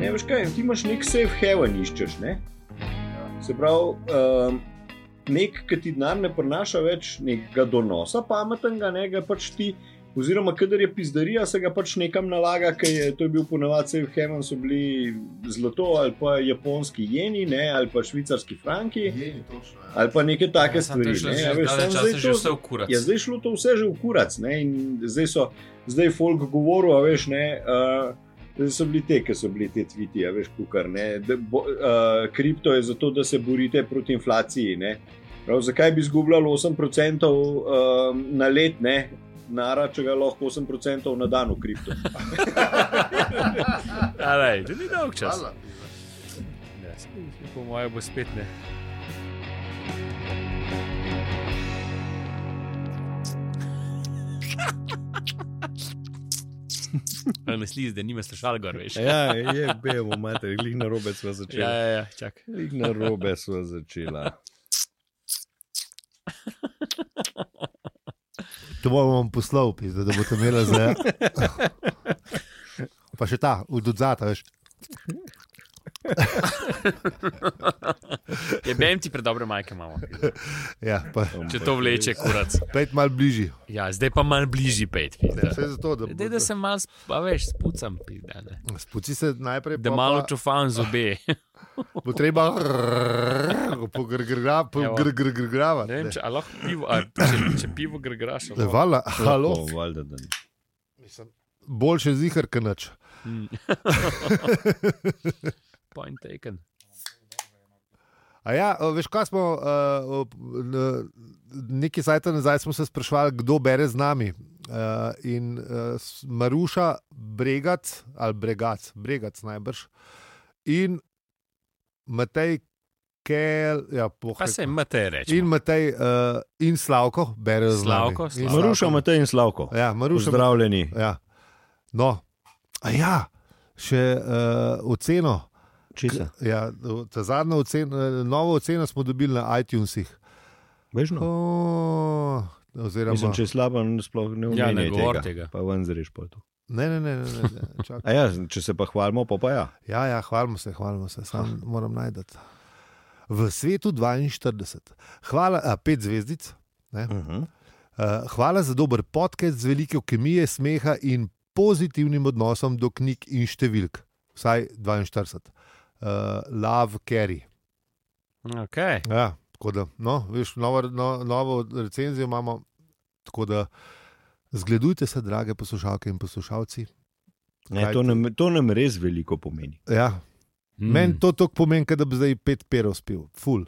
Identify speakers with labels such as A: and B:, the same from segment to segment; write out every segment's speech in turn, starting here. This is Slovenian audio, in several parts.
A: Ne veš kaj, ti imaš nek safe haven, iščeš. Ne? Se pravi, um, nek, ki ti denar ne prinaša več nekega donosa, pametnega, ne ga pač ti. Oziroma, kadar je pizdarija, se ga pač nekam nalaga, ker je to je bil ponovadi Safe Haven, so bili zlato ali pa japonski jeni, ne, ali pa švicarski franki,
B: Jeni, točno. ja.
A: ali pa neke take
C: Ja, samo
A: stvari.
C: to je šlo
A: ne.
C: že
A: Ja, veš,
C: zdaj
A: samo
C: časa, že
A: zdaj to-
C: vse v kurac.
A: Ja, zdaj je šlo to vse že v kurac. Ne? In zdaj so, zdaj je folk govoril, a veš, ne. Uh, Zdaj so bili te, ki so bili te tviti, a veš, kukar. ne, da bo- eh, Kripto je zato, da se borite proti inflaciji. Ne? Prav, zakaj bi izgubljali 8% uh, na let, ne? Nara, če ga lahko 8% na dan v kripto.
C: A lej, da ni dolg čas.
B: Hvala.
C: Ja, saj Po mojem bo spet ne. Ali ne slišiš, da nima slušal gor, veš?
D: Ja, je bilo, imate, glih na robe smo
C: Ja,
D: začeli.
C: ja, ja čak.
D: Glih na robe smo začeli.
E: To bom vam poslal, pizda, da boste imeli za. Pa še ta, od odzata, veš.
C: Je BM ti predobre majke imamo.
E: Ja, pa,
C: Če to vleče, kurac.
E: pejt malo bližje.
C: Ja, zdaj pa malo bližji pet.
E: Vse zato, da,
C: Dej, da se malo, sp- a veš, spucam, pizda, ne.
E: Spuci se najprej,
C: da
E: pol
C: malo
E: pa
C: čufam zobe.
E: Bo treba pogrgravati.
C: Ne vem, če a lahko pivo, a, če, če pivo gre no. graš.
E: Hvala, halo.
D: Lahko, valjda, da ne.
E: Boljše zihar, kaj nič.
C: Point taken.
E: A ja, o, veš, kaj smo, uh, ob- n- nekaj sajta nazaj smo se sprašvali, kdo bere z nami. Uh, in uh, Maruša, Bregac, ali Bregac, Bregac najbrž. In Matej, Kel, ja,
C: Pa
E: pohaj.
C: se imate reči.
E: In Matej, uh, in Slavko, berejo z nami.
C: Slavko,
E: In
C: Slavko.
A: Maruša, Matej in Slavko.
E: Ja, Maruša,
A: Pozdravljeni.
E: Ja. No, a ja, še uh, oceno.
A: Česa?
E: Ja, ta zadnja ocena, novo oceno smo dobili na iTunesih.
A: Bežno.
E: O, oziroma,
A: no. Mislim, če je slaba, sploh ne
C: Ja, ne
A: umenjaj
C: govori
A: tega.
C: tega.
A: Pa ven zreš pol to.
E: ne, ne, ne, ne, ne, ne čakaj.
A: A ja, če se pa hvalimo, pa pa ja.
E: Ja, ja, hvalimo se, hvalimo se, sam moram najti. V svetu 42, hvala, a, pet zvezdic. Ne?
A: Uh -huh.
E: Uh, hvala za dober podcast z veliko kemije, smeha in pozitivnim odnosom do knjig in številk, vsaj 42. Uh, love, carry.
C: Okay.
E: Ja, tako da, no, veš, novo, no, novo recenzijo imamo. Tako da, zgledujte se, drage poslušalke in poslušalci.
A: Ne, to, nam, to nam res veliko pomeni.
E: Ja, mm. Meni to tako pomeni, kot da bi zdaj pet perov spil, full.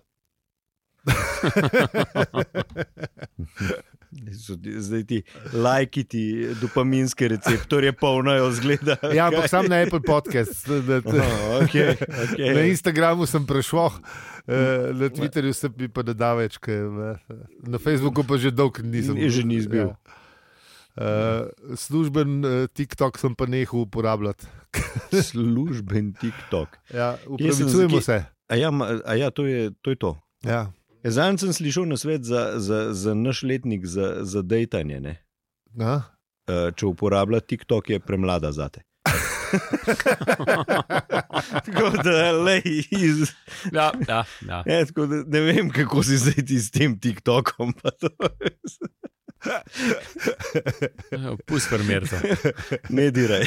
A: Zdaj ti lajki, ti dopaminske receptorje polnajo zgleda.
E: Ja, ampak sam na Apple podcast. Da, da,
A: Oh, okay, okay.
E: Na Instagramu sem prešel, eh,
A: Mm.
E: na Twitterju se mi pa ne da več, ker, eh, na Facebooku pa že dolgo nisem.
A: Ni- že nisi bil.
E: Ja. Eh, služben eh, TikTok sem pa nehal uporabljati.
A: Služben TikTok.
E: Ja,
A: sem
E: upravičujemo
A: zaki-
E: se.
A: A ja, ma- a ja to, je, to je to.
E: Ja.
A: Zanj sem slišal na svet za, za, za naš letnik, za, za dejtanje. ne.
E: A?
A: Eh, Če uporablja TikTok, je premlada za te. tako da, lej, iz,
C: Ja, ja, ja.
A: ne, tako da ne vem, kako si zdaj ti s tem TikTokom. pa to.
C: Pusti primer to.
A: Ne diraj.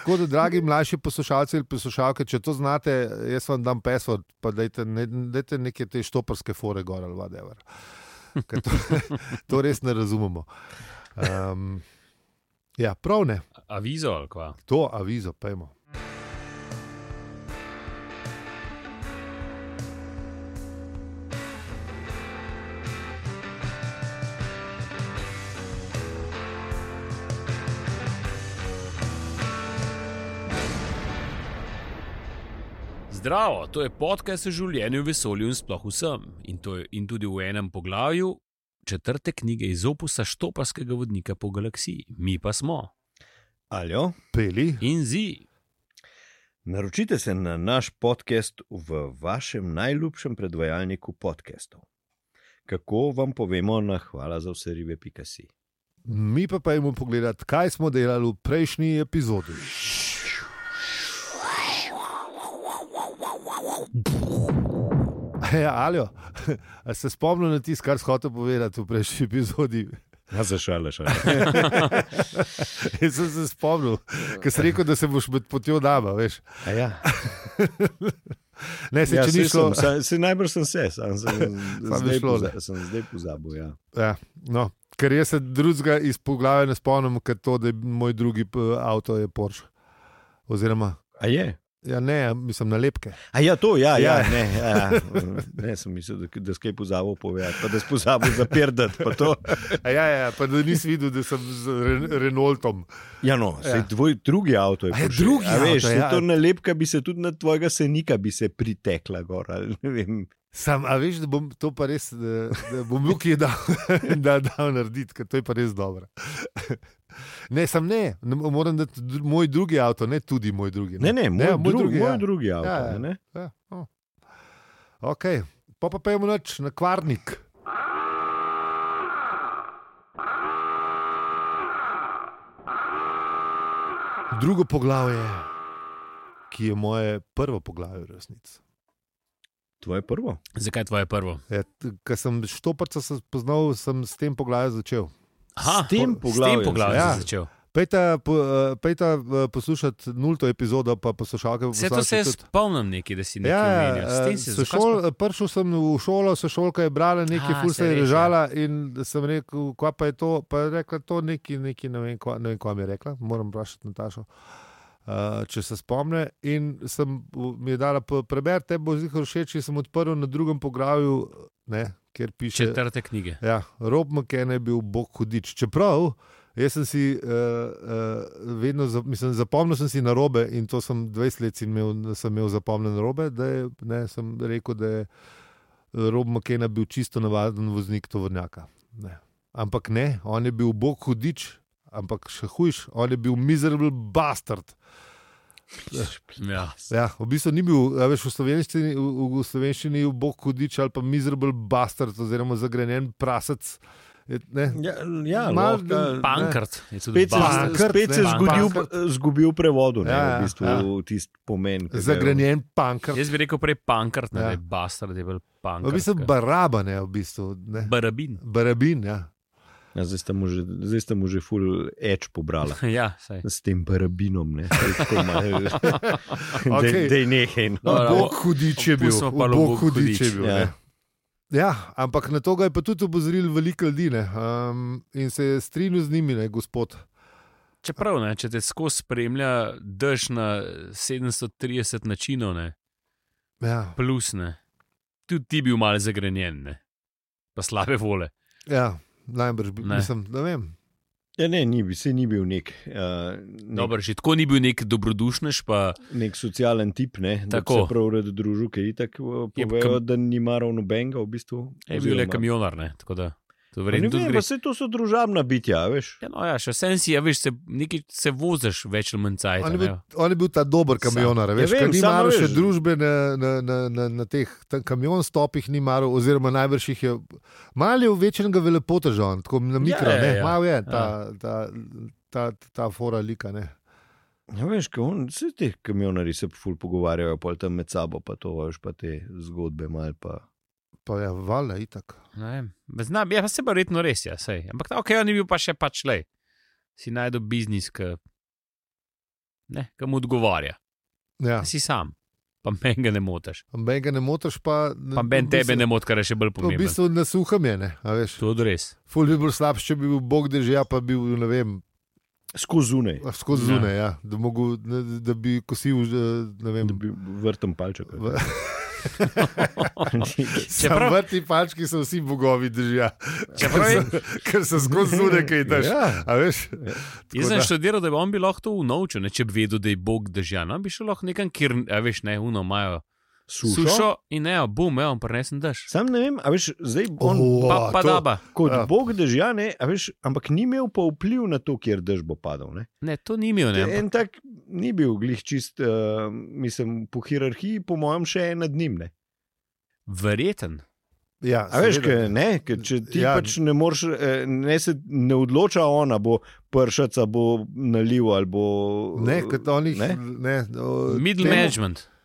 E: Tako da, dragi mlajši poslušalci ali poslušalke, če to znate, jaz vam dam password, pa dajte, ne, dajte neke te štoparske fore gor ali whatever. Ker To, to res ne razumemo. Um, ja, prav ne,
C: Avizo ali kva.
E: to avizo, pejmo.
C: Zdravo, to je podcast o življenju, vesolju in sploh vsem. In, to je, in tudi v enem poglavju četrte knjige iz opusa Štoparskega vodnika po galaksiji. Mi pa smo.
A: Aljo?
E: Peli,
C: In zi.
A: Naročite se na naš podcast v vašem najljubšem predvajalniku podcastov. Kako vam povemo na hvala za vse ribe, pika si.
E: mi pa pejmo pogledat, kaj smo delali v prejšnji epizodi. Ja, alijo, a se spomnim na tisto, kar si hotel povedati v prejšnji epizodi.
A: Ja, zašaleš.
E: Jaz sem se spomnil, ker si rekel, da se boš med potjo daba, veš.
A: Ja,
E: Ne, se,
A: ja
E: ja,
A: se
E: ni šlo.
A: sem, se, najbrž sem se, sam sem,
E: Samo
A: zdaj,
E: je šlo,
A: poza, sem zdaj pozabil. Ja.
E: Ja, no. Ker jaz se drugega iz poglavja ne spomnim, ker to, da je moj drugi p- avto je Porsche. Oziroma,
A: A je?
E: ja, ne, mislim nalepke.
A: A ja, to, ja, ja,
E: Ja.
A: ja. Ne, ja. ne, sem mislil, da, da skaj pozabil povedati, pa da si pozabil zapirdati. pa to.
E: A ja, ja, pa da nisi videl, da sem z Re Renaultom.
A: Ja, no,
E: Ja.
A: ja. tvoj drugi avto je
E: A ja,
A: Porsche.
E: drugi
A: a, veš,
E: avto,
A: saj
E: ja.
A: To nalepka bi se tudi na tvojega senika bi se pritekla gor. ali ne vem.
E: Sam, a veš, da bom to pa res, da, da bom Luki dal, da dal narediti, ker to je pa res dobro. Ne, sam ne, ne moram dati dru- moj drugi avto, ne tudi moj drugi.
A: Ne, ne, moj,
E: ja,
A: ne, moj, drugi, moj ja. drugi avto.
E: Ja, ja.
A: Ja, ja.
E: Ja, no. Ok, pa pa pojmo noč na kvarnik. Drugo poglavje, ki je moje prvo poglavje, resnici.
A: Tvoje prvo.
C: Zakaj tvoje prvo?
E: Ja, t- Ko sem štoprca se spoznal, sem s tem poglavjem začel.
C: Aha,
A: S tem
C: S tem
A: poglavjem
C: poglavjem
E: sem
C: ja.
E: se-
C: začel.
E: Pejta, po, eh, pejta eh, poslušati nulto epizodo, pa poslušalke
C: Vse to se jaz
E: tudi.
C: spomnim, nekaj, da si nekaj
E: Ja,
C: omenil. S
E: eh,
C: tem si
E: so
C: zakaj
E: šol,
C: smo-
E: eh, prišel sem v šolo, sošolka je brala nekaj,
C: A,
E: ful
C: se
E: se je
C: reče.
E: režala in sem rekel, kva pa je to, pa je rekla to neki, neki ne vem, kva, ne vem, kva mi je rekla, moram vprašati Natašo. Uh, če se spomne, in sem v- mi je dala p- prebrati, te bo zelo všeč. in Sem odprl na drugem poglavju, ne, kjer piše:
C: Četrte knjige.
E: Ja, Rob McKenna je bil bog hudič. Čeprav jaz sem si uh, uh, vedno, za, mislim, zapomnil sem si na robe in to sem 20 let si imel, sem imel zapomnjen robe, da je, ne, sem rekel, da je eh, Rob McKenna bil čisto navaden voznik tovornjaka. Ne. Ampak ne, on je bil bog hudič, ampak še hujš, on je bil miserable bastard.
C: Ja.
E: Ja, v bistvu ni bil, a veš, v slovenščini, v, v slovenščini je bil bog hudič ali pa miserable bastard oziroma zagrenjen prasec. Je, ne,
A: Ja, ja,
E: Malo
A: lahko,
C: Pankrt je tudi
A: Spet se,
C: bastard.
E: Pankrt,
A: spet se
E: ne.
A: zgodil,
E: Pankrt.
A: zgubil prevod, ne,
E: Ja, ja,
A: v bistvu
E: ja.
A: ja. tisti pomen. ki ga je-
E: Zagrenjen pankar.
C: Jaz bi rekel prej pankrt, ne
E: Ja.
C: ja. bastard, je bil
E: V
C: pankrt.
E: bistvu baraba ne, v bistvu. Ne.
C: Barabin.
E: Barabin, ja.
A: Ja, zdaj sta mu že, zdaj sta mu že full edge pobrala.
C: Ja, saj.
A: S tem parabinom, ne
E: Okej.
A: da je nekaj. No.
C: Dobro,
E: Bog hudič je bil.
C: opustimo pa
E: Bog
C: Bog
E: hudič je
C: hudič,
E: bil.
A: ja.
E: ne. Ja, ampak na to ga je pa tudi opozoril veliko ljudi ne, um, in se je strinjal z njimi, ne, gospod.
C: Čeprav, ne, če te skozi spremlja, drž na 730 načinov, ne,
E: Ja,
C: plus ne. Tudi ti bil malce zagrenjen, ne. pa slabe vole.
E: ja najbrž bi,
C: Ne.
E: mislim, ne vem.
A: Ja, ne, ni, bil- saj ni bil nek, uh, nek,
C: Dobar, že tako ni bil nek dobrodušnež, pa
A: nek socialen tip, ne, da bi
C: Tako.
A: se prav rad družil, ker je tako
C: Je
A: povedal,
C: kam-
A: da nima ravno benga. V bistvu,
C: je bil le
A: oziroma-
C: kamionar. Ne, tako da,
A: Pa
C: to
A: Ne
C: verjetno tudi
A: vem,
C: gre.
A: pa se to so družabna bitja, a veš.
C: Ja, no, ja, še vsem si, ja, veš, se, nekaj se voziš več ali manj cajt.
E: On je, bil, on je bil ta dober kamionar, veš,
A: Ja,
E: ja,
A: vem,
E: vem, ni
A: samo
E: maral še
A: veš.
E: družbe na, na, na, na, na teh tam kamion stopih, ni maral, oziroma najbrž jih je malo je uvečenega velepoteža, on, tako na mikro,
C: ja,
E: ne,
C: ja.
E: malo je ta, ta, ta, ta, ta fora lika. Ne.
A: Ja, veš, ko on, vse te kamionari se ful pogovarjajo, pol tam med sabo, pa to veš, pa te zgodbe mal. Pa.
E: Pa je valjda itak.
C: Znam, ja, pa se pa verjetno res, ja, sej. Ampak ta, ok, on je bil pa še pač le. Si najdel biznis, ki ne, ki mu odgovarja.
E: Ja.
C: Si sam, pa meni ga ne motiš.
E: Ben ga ne motiš, pa
C: Pa meni tebe ne moti, kar je še bolj
E: motiš. No, V
C: pomembno.
E: bistvu na suhem je, ne, a veš.
C: To je res.
E: Ful bi bil slabši, če bi bil Bog držal, pa bi bil, ne vem,
A: Skozune,
E: skozi
C: Ja.
E: zunaj, ja. da, mogu, da, da bi kosil, eh, ne vem.
A: da bi vrtem palček.
E: v-
C: Čeprav-
E: Čeprav... Vrti pački so vsi bogovi držijo,
C: Čeprav je-
E: ker so skozi zunaj kaj daš.
A: Ja.
E: A veš?
C: Jaz sem študiral, da bi on bi lahko to unovčil, ne, če bi vedel, da je Bog držan. On bi šel lahko nekam, kjer, a veš, ne, uno imajo
A: Sušo. Sušo.
C: sušo in ne, bum, evo, prenesen dež.
A: Sam ne vem, a veš, zdaj on. Oh.
E: O,
C: Pa, pa
E: to-
C: da ba.
A: Kot
E: Ja.
A: ja. Bog drža, ne, a veš, ampak ni imel pa vpliv na to, kjer dež bo padal. Ne.
C: Ne, to ni imel, ne. ampak-
A: En tak ni bil glih čist, uh, mislim, po hierarhiji, po mojem, še en nad njim. Ne.
C: Verjeten.
E: Ja,
A: A veš,
E: seveda.
A: ke, ne, ke, če ti ja.
E: Ja.
A: pač ne moreš, eh, ne se ne odloča ona, bo pršaca, bo naliv ali bo.
E: Ne, kot onih, ne,
A: Ne?
E: ne o,
C: Middle
E: temu-
C: management.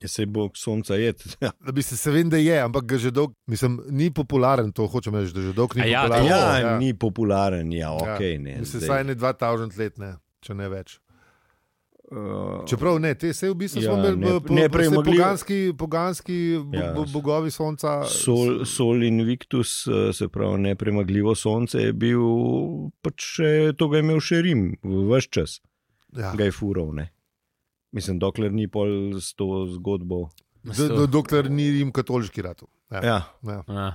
A: Ja, se bo sonca jed. Ja,
E: Da bi se, se vem, da je, ampak ga že dolgo, mislim, ni popularen, to hočem reči, da že dolgo
C: A
E: ni
C: ja,
E: popularen.
A: ja, ja, ni popularen, ja, ok. Ne,
E: Mislim,
A: zdaj.
E: saj ne 2000 let, ne, če ne več.
A: Uh,
E: Čeprav ne, te se v bistvu
A: Ja,
E: ja, smo
A: ne-
E: imeli po,
A: nepremagljiv-
E: po, poganski, poganski
A: Ja.
E: ja. bo, bogovi sonca.
A: Sol, sol Invictus, eh, se pravi nepremagljivo sonce, je bil pač eh, to, ga je imel še Rim, vse čas,
E: Ja.
A: ga je furov. Ne. Mislim, dokler ni pol s to zgodbo.
E: Do, do, dokler ni jim katoliški ratu.
A: Ja,
E: Ja.
C: Ah,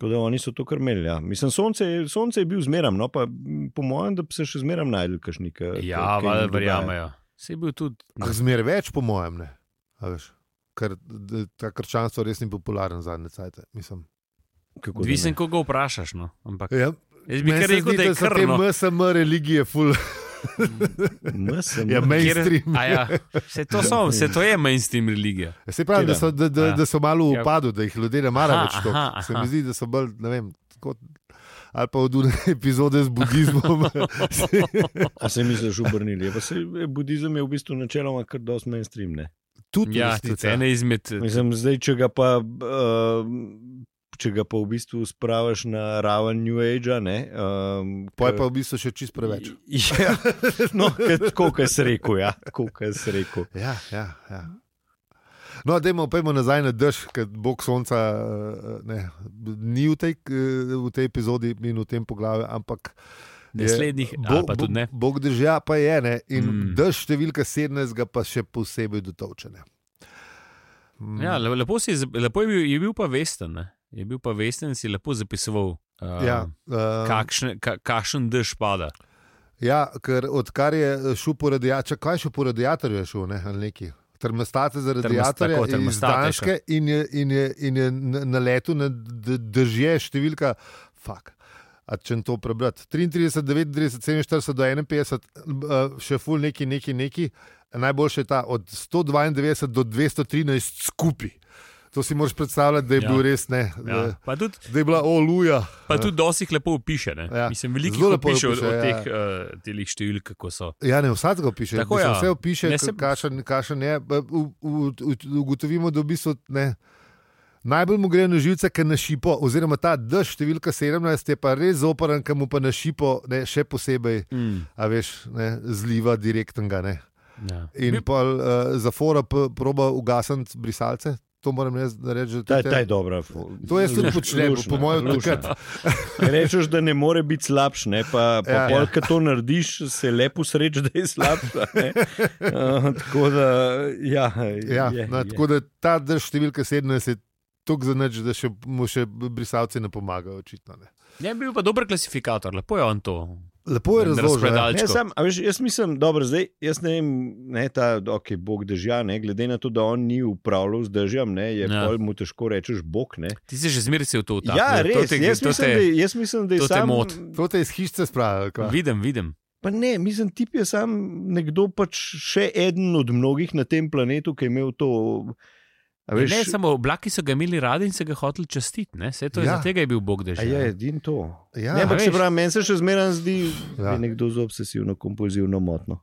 A: tako da oni so to kar imeli. Ja. Mislim, sonce, je- sonce je bil zmeram, no pa m, po mojem, da bi se še zmeram najdel kašnik.
C: Ja, val- verjamejo. Se je bil tudi.
E: Ah, Zmer več, po mojem, ne. A veš, Ker d- ta krščanstvo res ni popularen zadnje cajt.
C: Odvisen, ko ga vprašaš. No. Ampak
E: Ja,
C: jaz bi
E: Meni
C: kar
E: se
C: rekel,
E: zdi,
C: da je
E: so te
C: krvno.
E: MSM religije, ful,
A: Mislim,
E: ja, mainstream.
C: Ja, vse to, so, vse to je mainstream religija.
E: Se pravi, da so, da,
C: Ja.
E: da, da so malo
C: Ja.
E: v upadu, da jih ljudje ne marajo
C: Aha,
E: več
C: aha,
E: tako. Se
C: aha.
E: mi zdi, da so bolj, ne vem, kot. Ali pa od une epizode z budizmom.
A: A se mi zdaj obrnili. Pa se eh, budizem je v bistvu načeloma kar dosti mainstream. Ne?
E: Tudi
C: Ja,
E: v resnici,
C: tudi ena izmed.
A: Mislim, zdaj, če ga pa. Uh, Če ga pa v bistvu spraviš na raven New Age, ne. Um,
E: Poj pa v bistvu še čist preveč.
A: Ja, no, ke- tako kot si rekel, ja, tako kot si rekel.
E: Ja, ja, ja. No, dajmo pojmo nazaj na dež, ker bog sonca eh, ne, ni v tej, eh, v tej epizodi in v tem poglavju, ampak. je-
C: Naslednjih, ali
E: Bog-
C: pa tudi ne.
E: Bog držja pa je ne. In
C: Mm.
E: mm. dež številka 17 ga pa še posebej dotovčene.
C: Ja, le- lepo, si, je zap- lepo je, bil, je bil pa vesten. Ne? Je bil pa vesten in si lepo zapisoval, uh,
E: Ja, eh,
C: kakšne, ka, kakšen dež pada.
E: ja, ker odkar je eh, šel po radiatorju, kaj je šel po radiatorju, je šel ne, ali neki. Termostate za radiatorje
C: tako,
E: iz
C: termostate je šel.
E: Danske in je, in je, in je na na letu na d- držje številka, fuk. A če jim to prebrati, 33, 39, 47 do 51, eh, še ful neki, neki, neki. Najboljše je ta od 192 do 213 skupaj. To si moraš predstavljati, da je
C: Ja.
E: ja. bil res ne.
C: Ja.
E: Ja.
C: Pa tudi,
E: Da je bila oluja.
C: pa tudi dosti jih lepo opiše. Ja.
E: Ja.
C: Mislim, veliko
E: Zelo
C: jih
E: lepo
C: opiše o,
E: opiše,
C: o
E: ja.
C: teh uh, delih številk, kako so.
E: Ja, ne vsak ga piše, tako
C: Tako,
E: je.
C: ja.
E: Vse opiše,
C: Ne, se-
E: kakšen, kakšen je. Pa u- u- u- Ugotovimo, da v bistvu ne. Najbolj mu gre na živce, ker na šipo, oziroma ta D številka 17 je pa res zoporen, ki mu pa na šipo ne, še posebej,
C: Mm.
E: a veš, ne, zliva direktnega. Ne.
C: Ja.
E: In pa uh, za fora p- proba ugasniti brisalce, to moram jaz reči.
A: Ta,
E: Da,
A: ta je dobra. fo-
E: to jaz tudi
A: lušna,
E: počnem,
A: lušna,
E: po mojem,
A: lušna.
E: takrat.
A: Rečeš, da ne more biti slabš, ne pa, pa ja,
E: Ja.
A: pol, ja. to narediš, se lepo sreče, da je slabš. a ne. Uh, tako da, ja,
E: Ja,
A: je,
E: je, na,
A: je.
E: je. Tako da ta D številka 17 je tako zanač, da še, mu še brisalci ne pomagajo, očitno. Ne.
C: Ja, Je bil pa dober klasifikator, lepo je on to.
E: Lepo je razložil. ja.
A: Ne,
C: Alčko.
A: sam, a veš, jaz mislim, dobro, zdaj, jaz ne vem, ne, ta, ok, bog držja, ne, glede na to, da on ni upravljal z držjem, ne, je
C: Ja.
A: ja. pol mu težko rečeš bog, ne.
C: Ti si že zmeraj se v
A: Tako,
C: to utaknil.
A: ja,
C: To
A: res,
C: te-
A: jaz,
C: to
A: mislim,
C: te-
A: da, je- jaz mislim, da je
C: to te
A: sam...
C: moti.
E: To te je iz hišice spravilo. kva.
C: Vidim, vidim.
A: Pa ne, mislim, tip je sam nekdo, pač še eden od mnogih na tem planetu, ki je imel to. a
C: Veš,
A: Veš,
C: ne, samo oblaki so ga imeli radi in se ga hoteli častiti. ne, saj to je-
E: Ja.
C: Zaradi tega je bil Bog
A: A
C: dežja.
A: je edin to.
E: Ja,
A: Ja, ne, ampak
C: veš.
A: se pravi, meni se še zmeraj zdi, ja. da
E: Ja.
A: je nekdo z obsesivno kompulzivno motno.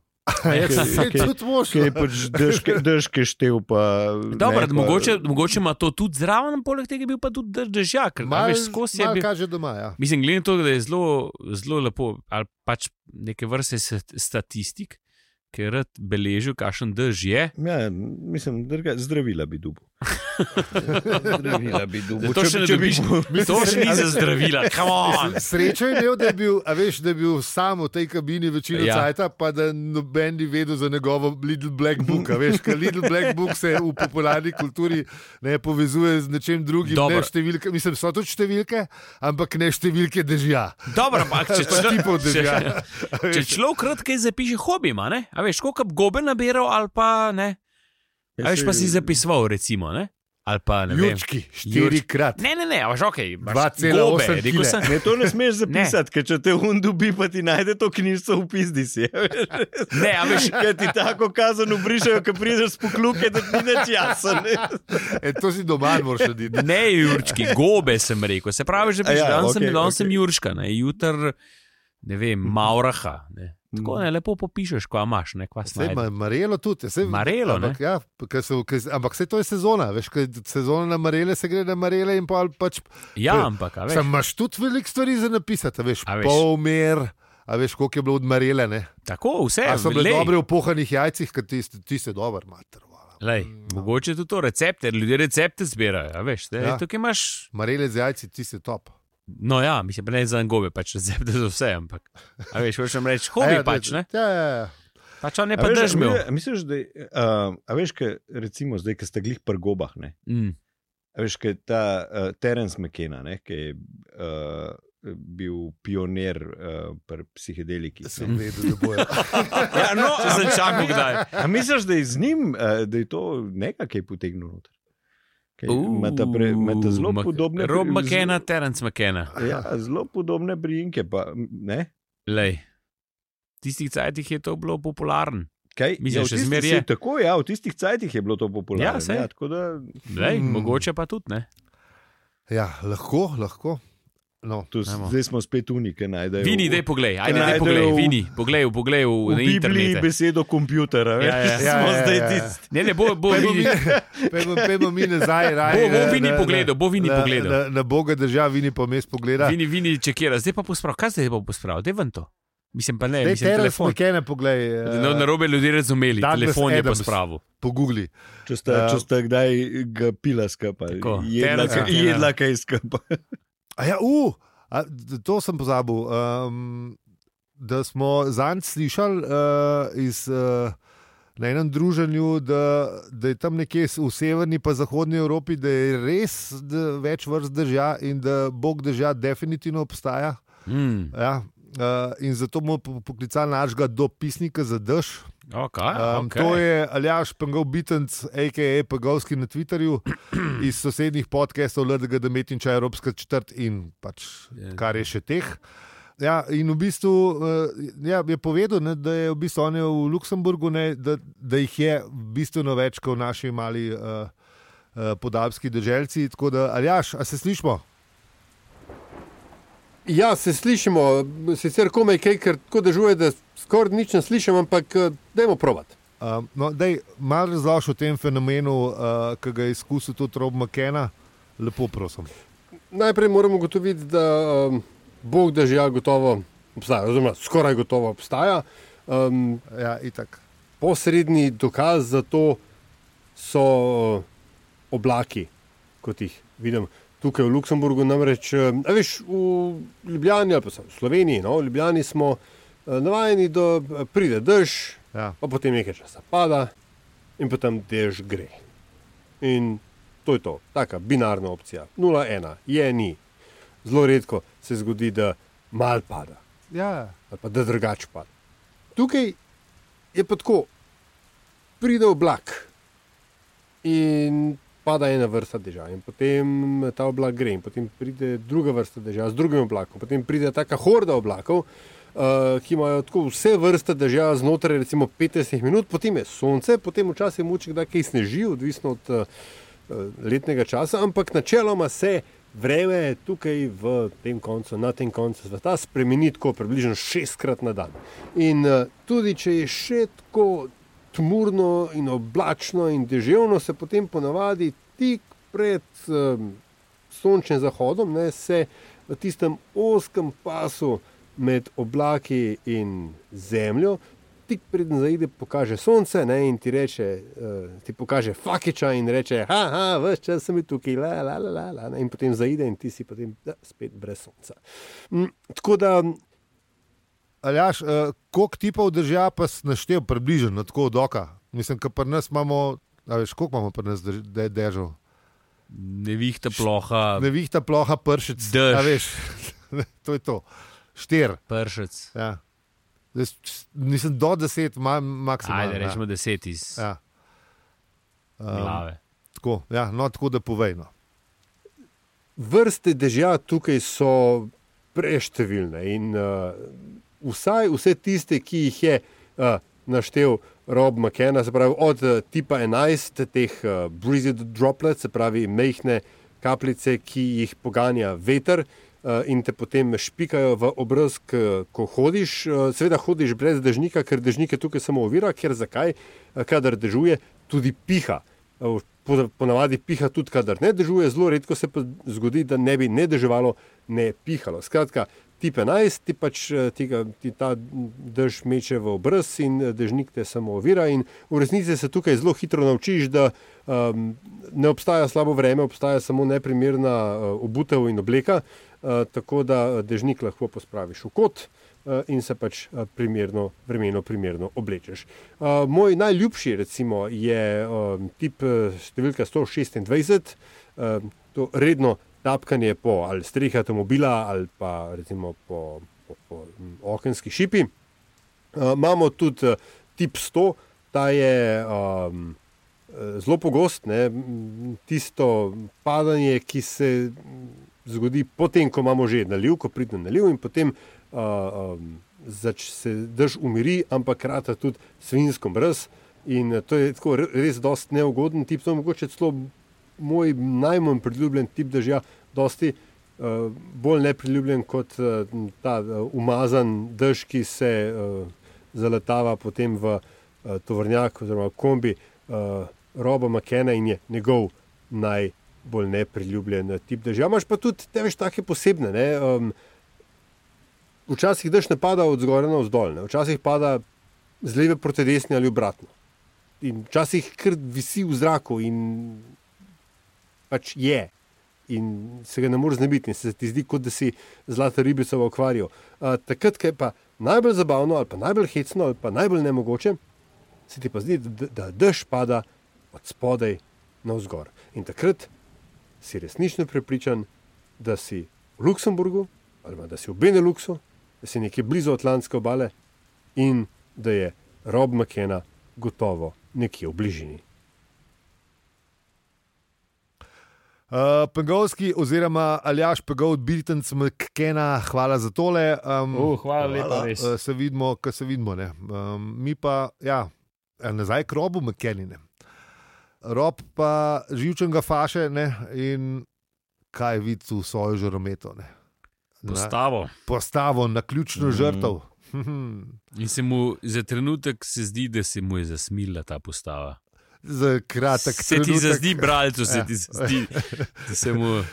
C: A je-
E: se je
A: Kaj-
E: tudi ja. možno.
A: Ker je pač dežke- dežke štev, pa.
C: Dobro,
A: ne, pa-
C: mogoče, mogoče ima to tudi zraven, poleg tega je bil pa tudi drž- držak. ker, a
E: Mal,
C: veš, skozi je
E: mal
C: bil.
E: kaže doma. Ja.
C: Mislim, glede na to, da je zelo, zelo lepo, ali pač neke vrste st- statistik, ki je rad beležil, kakšen dež je.
A: Ja, mislim, drga, zdravila bi dubu. zdravila bi dubu.
C: To še ne dobiš, to še ni za zdravila, come on.
E: Srečo je imel, da je bil, a veš, da je bil sam v tej kabini večino
C: Ja.
E: ja. cajta, pa da noben ni vedel za njegovo Little Black Book. a Veš, ker Little Black Book se v popularni kulturi ne povezuje z nečem drugim.
C: Dobro.
E: Ne številke, mislim, so to številke, ampak ne številke dežja.
C: Dobro, ampak če,
E: Pa tipov
C: če,
E: dežja.
C: če človek kratke zapiše hobi, ima, ne?
E: Ja,
C: a veš, koliko gobe nabiral ali pa ne. A veš, pa si zapisoval, recimo, ne? ali pa ne vem.
E: Ljudki, štirikrat.
C: Ne, ne, ne, a veš, ok, imaš
E: 2,8
C: gobe, rekel
E: kile.
C: sem.
A: Ne, to ne smeš zapisati, ker če te un dobi, pa ti najde to knjižico v pizdici. a veš.
C: Ne, a veš,
A: Ker ti tako kazen ubrišajo, ko prideš s pokluke, da ti neč jasno.
E: E, to si doma moraš narediti.
C: ne Jurčki, gobe sem rekel. Se pravi, že
A: A ja,
C: prejšnji dan sem
A: okej,
C: bil, danes sem
A: okej.
C: Jurčka, ne, jutr, ne vem, Mauraha. Ne. Tako ne, lepo popišeš, kva imaš, ne, kva
E: Sej,
C: snaj.
E: ma, marelo tudi. Sej,
C: Marelo,
E: ampak, ja, ker se, ker, se- ampak se to je sezona, veš, ker sezona na marele se gre na marele in pol pač.
C: Ja, ampak, a veš.
E: Sam imaš tudi veliko stvari za napisati, a veš, a
C: A veš.
E: veš. polmer, a veš, koliko je bilo od marele. Ne?
C: Tako, vse
E: A so bile
C: lej,
E: dobre v pohanih jajcih, ker ti, ti se dobro matrvala.
C: Lej, mogoče tudi to recepte, ljudje recepte zbirajo. a Veš, te, ja.
E: Ja.
C: Tukaj imaš,
E: Marele z jajci, ti si top.
C: no ja, mislim, pa ne za gobe, pač recepte za vse, ampak. A veš, hočeš nam reči,
E: A
C: hobi
E: ja,
C: pač, ne?
E: Ja, ja, ja.
C: Pač on ne pa držmijo.
A: Misliš, da je, uh, a veš, kaj recimo zdaj, ki ste glih pri gobah, ne?
C: Mm.
A: A veš, kaj ta uh, Terence McKenna, ne, ki je uh, bil pionir uh, pri psihedelikih.
E: Sem
A: ne.
E: vedel, da bojo.
C: Ja, no, sem čakal kdaj.
A: A misliš, da je z njim, uh, da je to nekaj, ki je potegnil noter? Kaj,
C: Uh,
A: imata pre- Imata zelo
C: Mc-
A: podobne
C: Rob
A: pri-
C: McKenna, Terence McKenna.
A: Ja, zelo podobne priimke. Pa, ne?
C: Lej. Tistih cajtih je to bilo popularno.
A: Kaj, ja,
C: Mislim,
A: v
C: še
A: tistih-
C: zmeraj je.
A: saj Tako, ja, v tistih cajtih je bilo to popularno.
C: Ja, saj.
A: ja, tako da
C: Lej,
E: Mm.
C: Mogoče pa tudi ne.
E: Ja, lahko, lahko. No.
A: to, s-
C: Ajmo.
A: zdaj smo spet unike. Najdejo,
C: Vini,
A: v-
C: dej poglej, ajde, dej
A: Najdejo
C: poglej,
A: v-
C: vini, poglej, poglej v,
A: v
C: na
A: Bibliji
C: internetu.
A: besedo kompjuter.
C: Ja, ja.
E: Ja,
A: smo
E: ja,
A: zdaj
E: ja, ja.
A: tisti.
C: Ne, ne, bo, bo,
E: Pejmo mi,
C: vini,
E: pejmo, pejmo mi nazaj. Raje,
C: Bo- bo
E: na-
C: Vini
E: na-
C: pogledal, bo Vini
E: na,
C: pogledal.
E: Na, na Boga drža, vini pa mes pogleda.
C: vini, vini čekira, zdaj pa posprav, kaj zdaj pa posprav, dej ven to. Mislim pa ne,
E: Dej,
C: mislim
E: Terence
C: telefon.
E: McKenna poglej. eh,
C: No, narobe ljudje razumeli,
E: Douglas
C: telefon je
E: Adams.
C: pospravil.
E: Pogugli.
A: Če sta, če
E: Ja.
A: sta kdaj ga pila skupaj,
C: Tako, ja.
A: jedla,
C: Terence
A: ka-
C: McKenna.
A: jedla kaj skupaj.
E: A ja, uh, a, d- to sem pozabil. Um, da smo zanj slišali uh, iz. Uh, Na enem druženju, da, da je tam nekje s- v severni in zahodni Evropi, da je res da več vrst drža in da Bog drža definitivno obstaja.
C: Mm.
E: Ja, uh, in zato bomo po- poklicali našega dopisnika za dež.
C: Okay,
E: Um,
C: okay.
E: To je Aljaš Pengal Bitenc, a.k.a. Pengalski na Twitterju, iz sosednjih podcastov LDG, da metinča Evropska četrt in pač,
C: Je.
E: kar je še teh. Ja, in v bistvu eh, ja, je povedal, ne, da je v bistvu on je v Luksemburgu, ne, da, da jih je bistveno več kot v naši mali uh, uh, podalpski državljici. Tako da, Aljaš, a se slišmo?
F: Ja, se slišimo, sicer komaj kaj, ker tako dežuje, da skoraj nič ne slišim, ampak eh, dajmo provat.
E: Um, no, dej, malo razloži o tem fenomenu, uh, ki ga je izkusil tudi Rob McKenna. Lepo prosim.
F: Najprej moramo ugotoviti, da um, Bog držja gotovo obstaja, oziroma skoraj gotovo obstaja. Um,
E: Ja, itak.
F: posredni dokaz za to so eh, oblaki, kot jih vidim tukaj v Luksemburgu. Namreč, eh, a veš, v Ljubljani ali pa vsaj v Sloveniji, no, v Ljubljani smo eh, navajeni, da eh, pride dež,
E: Ja.
F: pa potem nekaj časa pada in potem dež gre. In to je to, taka binarna opcija. 0-1 je ni. Zelo redko se zgodi, da mal pada
E: Ja,
F: ali pa da drugače pada. Tukaj je pa tako, pride oblak in pada ena vrsta dežja, in potem ta oblak gre, in potem pride druga vrsta dežja z drugim oblakom, potem pride ta horda oblakov. Uh, ki imajo tako vse vrste dežja znotraj, recimo 15 minut, potem je sonce, potem včasih muči, da kaj sneži, odvisno od uh, letnega časa, ampak načeloma se vreme tukaj v tem koncu, na tem koncu sveta, spremeni tako približno šestkrat na dan. In eh, tudi če je še tako tmurno in oblačno in deževno, se potem ponavadi tik pred um, sončnim zahodom ne, se v tistem oskem pasu med oblaki in zemljo tik preden zaide, pokaže sonce ne, in ti reče, uh, ti pokaže fakiča in reče, ah, veš, če sem bil tukaj, la, la, la, la, la, ne, in potem zaide in ti si potem da, spet brez sonca. Mm, tako da
E: Aljaš, uh, koliko tipov držja pa si naštel približno, no, tako od oka? Mislim, da pri nas imamo, a veš, koliko imamo pri nas drž- de- dežev?
C: Nevihta ploha,
E: Nevihta, ploha, pršec.
C: Dež.
E: A veš, to je to. Štir.
C: pršec.
E: Ja. Jaz s- Mislim, do deset, ma, maksimalno.
C: Ajde, rečemo deset iz
E: Ja.
C: glave.
E: Tako, ja, no, tako da povejno.
F: vrste dežja tukaj so preštevilne in uh, vsaj vse tiste, ki jih je uh, naštel Rob McKenna, se pravi od uh, tipa 11, teh uh, breezy droplets, se pravi mehke kapljice, ki jih poganja veter. uh, In te potem špikajo v obraz, k- ko hodiš. Uh, Seveda hodiš brez dežnika, ker dežnik je tukaj samo ovira, ker zakaj, Uh, kadar dežuje, tudi piha. Uh, po- Ponavadi piha tudi, kadar ne dežuje, zelo redko se pa zgodi, da ne bi ne deževalo, ne pihalo. Skratka, ti 11, ti pač eh, ti, ga- ti ta dež meče v obraz in eh, dežnik te samo ovira. In v resnici se tukaj zelo hitro naučiš, da um, ne obstaja slabo vreme, obstaja samo neprimerna uh, obutev in obleka, uh, tako da eh, dežnik lahko pospraviš v kot eh, in se pač eh, primerno, vremeno primerno oblečeš. Eh, Moj najljubši recimo, je eh, tip eh, številka 126, eh, to redno tapkanje po ali strehi avtomobila ali pa recimo po, po, po hm, okenski šipi. Eh, Imamo tudi eh, tip 100, ta je um, eh, zelo pogost, ne, m, tisto padanje, ki se m, zgodi potem, ko imamo že naliv, ko pride naliv in potem uh, um, zač, se drž umiri, ampak rata tudi svinsko brez. In eh, to je tako re- res dost neugoden tip, to je mogoče celo moj najmanj priljubljen tip držja, dosti uh, bolj nepriljubljen kot uh, ta uh, umazan dež, ki se uh, zaletava potem v uh, tovornjak oziroma kombi uh, Roba McKena in je njegov najbolj nepriljubljen eh, tip dežja. Imaš pa tudi te več take posebne. Ne, um, včasih dež ne pada od zgoraj na vzdolj, ne, včasih pada z leve proti desni ali obratno. In včasih kar visi v zraku in pač je. In se ga ne moreš znebiti, in se ti zdi, kot da si zlata ribica v akvariju. Uh, takrat, ko je pa najbolj zabavno, ali pa najbolj hecno, ali pa najbolj nemogoče, se ti pa zdi, da, da dež pada od spodaj navzgor. In takrat si resnično prepričan, da si v Luksemburgu ali pa da si v Beneluxu, da si nekje blizu Atlantske obale in da je Rob McKenna gotovo nekje v bližini.
E: Uh, Pengovski, oziroma Aljaš Pegov, Britanc McKenna, hvala za tole. Um,
G: Uh, hvala lepa, res.
E: uh, se vidimo, kar se vidimo. ne. Um, mi pa, ja, eh, nazaj k robu McKennine. Rob pa živčnega faše ne? in kaj vidi v svojo žarometo. ne. Na-
C: postavo.
E: Postavo na ključno
A: Mhm.
E: žrtev.
C: In se mu za trenutek se zdi, da se mu je zasmila ta postava.
E: Za kratek
C: se ti
E: trenutek.
C: zazdi, bralcu, se
E: Ja.
C: ti zdi, da se mu.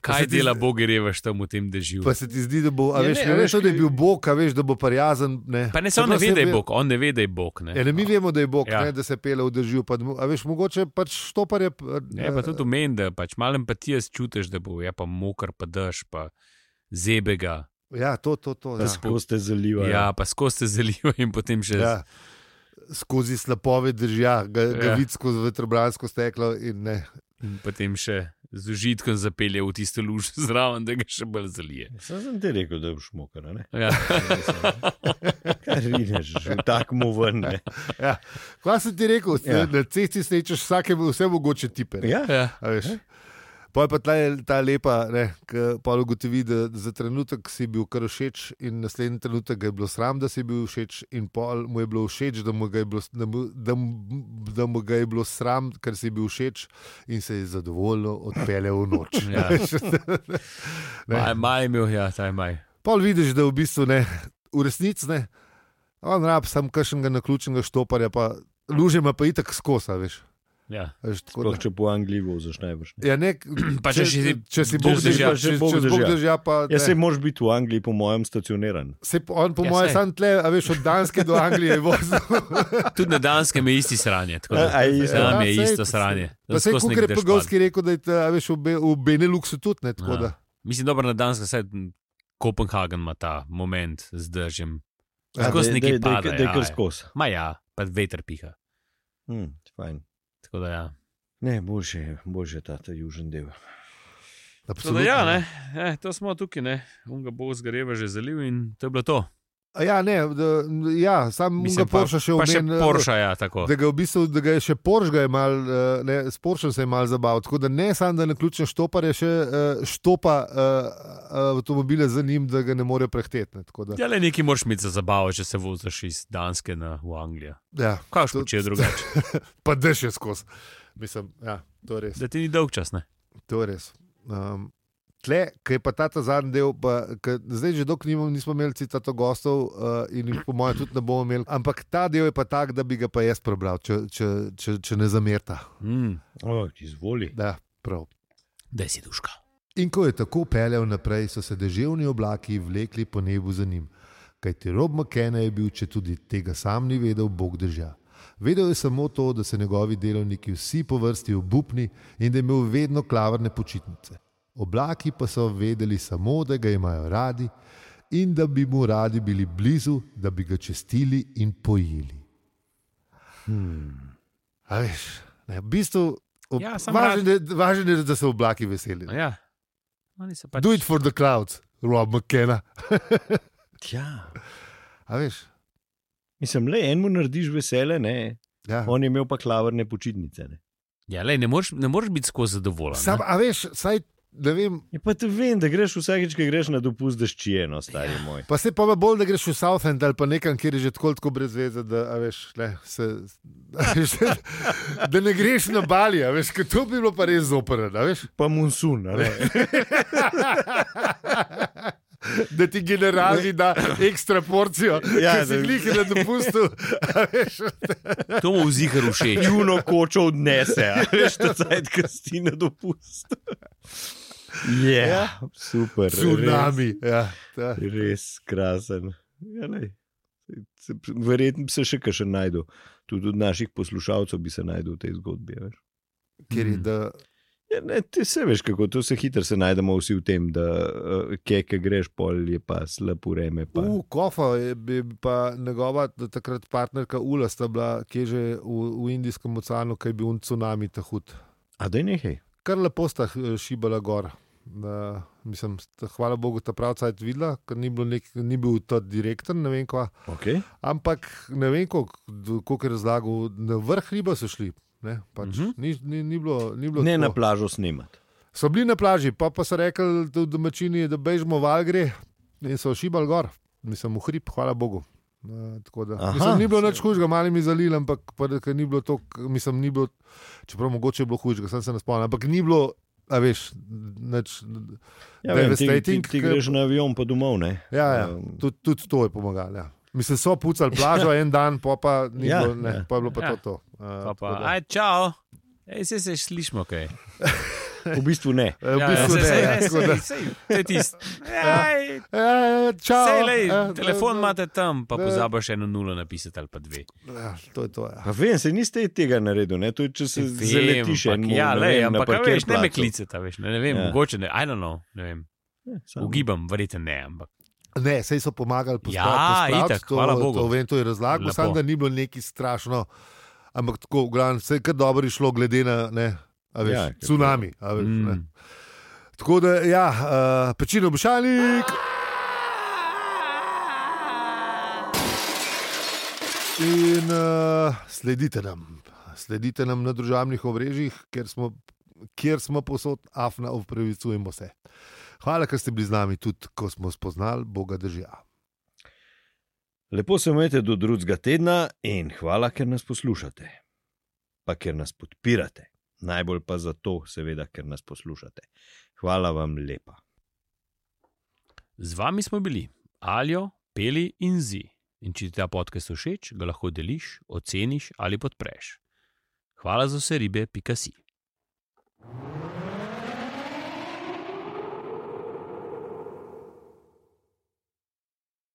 C: Kaj
E: se ti
C: dela
E: z-
C: Bog, revaš tam v tem dežju?
E: Pa se ti zdi, da bo, a
C: Ja,
E: veš,
C: ne,
E: ne,
C: a
E: veš,
C: veš,
E: da je
C: ki-
E: bil Bog, a veš, da bo prijazen. Ne.
C: Pa ne samo ne
E: Čeprav
C: ve, da je
E: ve-
C: Bog, on ne ve, da je Bog. Ne.
E: Ja, ne, mi vemo, da je Bog, ja.
C: Ja.
E: ne, da se pele v držju. Pa, da mu- a veš, mogoče pač štopar je.
C: Ne, pa tudi omen, da pač malo empatije čutiš, da bo ja, pa mokar, pa daš, pa zebega.
E: Ja, to, to, to.
C: Da
E: Ja.
C: se
A: Tako ste zalivali.
C: Ja, pa skozi se zaliva in potem še.
E: Ja. Skozi slapove držja, ga, ga
C: Ja.
E: vidi skozi vetrobransko steklo. in ne.
C: In potem še z užitkom zapelje v tisto luž zraven, da ga še bolj zalije.
A: Sam sem ti rekel, da boš mokar, a ne?
C: Ja.
A: Kar vidiš, tako mu vrne.
E: Ja. Kaj sem ti rekel, ja.
A: Ja.
E: na cesti srečaš vsake, vse mogoče tipe. ne.
A: Ja,
C: Ja.
E: A veš. Pol je pa tla, ta lepa, ki pa ugotovi, da za trenutek si bil kar všeč, in naslednji trenutek ga je bilo sram, da si bil všeč, in pol mu je bilo všeč, da mu ga je bilo, s- da mu, da, mu- da mu ga je bilo sram, ker si bil všeč, in se je zadovoljno odpeljal v noč.
C: Ja.
E: Ne.
C: Maj, maj je imel, ja, taj maj.
E: Pol vidiš, da v bistvu ne, v resnici ne, on rab sem kakšnega naključnega štoparja, pa luže ima pa itak skosa, veš.
C: Ja.
E: A veš, tako da-
A: Sploh če po Angliji voziš najbrž. ne.
E: Ja, ne,
C: Pa če si-
E: če si
C: če
E: Bog
C: si
E: držal,
C: držal,
E: če si
A: Bog
E: Bog
A: držal.
E: držal, pa
A: Ja,
E: ne.
A: se moraš biti v Angliji, po mojem, stacioniran.
E: Saj po- on, po
C: Ja,
E: mojem,
C: saj.
E: sam tle, a veš, od Danske do Anglije je vozil.
C: Tudi na danskem je isti sranje. tako da
A: A, a isto?
C: Tam je
E: Ja, sej,
C: isto sranje.
E: Pa se je
C: Skozi nek
E: Kukre
C: dežpan.
E: Pogovski rekel, da je ta, a veš, v, Be, v Beneluxu tudi ne tako.
C: Ja.
E: Da.
C: Mislim, dobro, na Danskem, saj m, Kopenhagen ima ta moment z držem.
E: Ja,
C: Skozi
A: Da- da-
C: nekaj
A: da-
C: pada.
A: Da je
C: ja,
A: kar
C: ja.
A: skozi.
C: Ma ja, pa veter piha.
A: Hm, fajn.
C: Tako da ja.
A: Ne, boljše je, boljše je ta, ta južni del.
E: Absolutno.
C: torej ja, ne, to smo tukaj, ne. Unga bo zgareva že zaliv in to je bilo to.
E: Ja, ne, da, ja sam
C: Mislim,
E: Mislim, ga Porsche še
C: pa še
E: omenil.
C: Porsche, ja, tako.
E: Da ga, v bistvu, da ga je še Porsche ga je mal, eh, ne, s Porsche se je mal zabaval. Tako da ne samo, da na ključne štopare še eh, štopa eh, avtomobile za njim, da ga ne more prehteti. ne, tako da-
C: Ja, le neki moraš imeti za zabavo, če se voziš iz Danske na, v Anglijo.
E: Ja,
C: Kaj še
E: to-
C: če je drugače?
E: pa da še skozi. Mislim, ja, to je res.
C: Da ti ni dolg čas, ne?
E: To je res. Um, tle, ki je pa ta ta zadnji del, pa, ke, zdaj že dokler nimamo, nismo imeli citato gostov uh, in jih po mojem tudi ne bomo imeli. Ampak ta del je pa tak, da bi ga pa jaz prebral, če, če, če, če ne zamerta.
C: Mm,
A: O, izvoli.
E: Da, prav.
C: da si duška.
E: In ko je tako peljal naprej, so se deževni oblaki vlekli po nebu za njim. Kajti Rob McKenna je bil, če tudi tega sam ni vedel, Bog drža. Vedel je samo to, da so njegovi delovniki vsi po vrsti obupni in da je imel vedno klavrne počitnice. Oblaki pa so vedeli samo, da ga imajo radi in da bi mu radi bili blizu, da bi ga čestili in pojili. Hmm. Veš, ne, v bistvu, ob,
C: Ja,
E: ja,
C: samo
E: važno, je, da- važno je, da so oblaki veseli.
C: Ja, oni se pač.
E: Do it for the clouds, Rob McKenna.
C: Ja.
E: A veš,
A: Mislim, le enemu narediš vesele, ne.
E: ja.
A: On je imel pa klavrne počitnice. Ne.
C: Ja, lej, ne moreš, ne moreš biti skozi zadovoljen.
E: Sam,
C: ne.
E: a veš, saj ne vem.
A: Je Ja, pa te vem, da greš vsakeč, ko greš na dopust, da ščijeno, stari ja. moj.
E: Pa se pa me bolj, da greš v Southend ali pa nekam, kjer je že tako, tako brez veze, da, a veš, ne, se, a veš, da ne greš na Bali, a veš, ker to bi bilo pa res zoprno, a veš.
A: Pa monsun, ali ne?
E: Da ti generali da ekstra porcijo,
A: Ja,
E: ja, da si
A: da-
E: jih na dopustu. a veš.
C: To mu vzihar všeč.
A: Juno kočo odnese, a veš, da cajt, ki si na dopust. Yeah, ja, super.
E: Tsunami. Ja, ta.
A: Res, res krasen. Ja, lej. Se- se- Verjetno bi se še kaj najdel. Tudi od naših poslušalcev bi se najdel v tej zgodbi. a Veš.
E: Ker je da.
A: Ja, ne, ti se veš, kako to se hitro se najdemo vsi v tem, da eh, kje ke greš, pol je pa slab ureme. Pa.
E: V Kofa je bi- pa njegova do takrat partnerka Ula, sta bila, ki je že v, v Indijskem oceanu, ki je bil un tsunami ta hud.
A: A da je nekaj.
E: Kar lepo sta eh, šibala gor. Da, mislim, sta, hvala Bogu, ta pravca je videla, ker ni, bilo nek, ni bil ta direktor, ne vem kva.
A: Okay.
E: Ampak ne vem, koliko koliko je razlagal, na vrh riba so šli. Ne, pač, uh -huh. ni, ni, ni bilo, ni bilo
A: Mhm. Ne na
E: tako.
A: plažo snimati.
E: So bili na plaži, pa, pa so rekli, da v domačini, da bežimo v Algre in so šibali gor, mislim, v hrib, hvala Bogu. Uh,
A: Aha,
E: mislim, ni bilo nič hujšega, malo mi je zalil, ampak pa, da- ker ni bilo to, mislim, ni bilo, čeprav mogoče je bilo hujšega, sem se ne spomnil, ampak ni bilo, a veš, nič.
A: Ja, vem, ti, ti,
E: Devastating,
A: ti
E: ke-
A: greš na avion, pa domov. Ne?
E: Ja, ja,
A: Um,
E: tudi, tudi to je pomagalo. Ja. Mislim, so pucali plažo en dan, pa, pa, ni
A: Ja,
E: ja, bilo, ne,
A: ja.
E: ja. pa je bilo pa
C: Ja.
E: ja. to. to. Uh,
C: Pa, pa, aj, čau. Ej, se, se slišmo, kaj.
A: V bistvu ne.
E: v bistvu ne. ja, tako da-
C: To je tisto. Ej,
E: Ja, ja, čao,
C: Sej, lej,
E: ja,
C: telefon
E: ja,
C: imate tam, pa
E: ne.
C: pozabiš eno nulo napisati ali pa dve.
E: Ja, to je to. Ja.
A: Pa vem, se niste iz tega naredil, ne? to je, če se
C: Vem,
A: zaletiš.
C: ampak
A: enemu,
C: Ja,
A: ne
C: lej,
A: vem, na
C: ampak a veš, ne me
A: parkirplacu.
C: klicete, a veš, ne, ne vem,
A: Ja.
C: mogoče ne, I don't know, ne vem.
A: Ja, samo-
C: Ugibam, verjete ne, ampak.
E: Ne, sej so pomagali pospraviti.
C: Ja,
E: pospraviti,
C: itak,
E: to,
C: hvala Bogu.
E: To, vem, to je razlagal,
C: Lepo.
E: samo da ni bilo neki strašno. Ampak tako, glavno, vse je kar dobro išlo, glede na ne, a veš,
A: Ja,
E: ja,
A: ker-
E: tsunami. a Veš,
C: Mm.
E: mm. Tako da, ja, uh, pečino bošalik. In uh, sledite nam, sledite nam na družbenih omrežjih, kjer smo, kjer smo posod, afna, upravičujemo se. Hvala, ker ste bili z nami tudi, ko smo spoznali Boga držja.
A: Lepo se imejte do drugega tedna in hvala, ker nas poslušate. Pa ker nas podpirate. Najbolj pa zato, seveda, ker nas poslušate. Hvala vam lepa.
C: Z vami smo bili Aljo, Peli in Zi. In če ti ta podcast všeč, ga lahko deliš, oceniš ali podpreš. Hvala za vse ribe, pika si.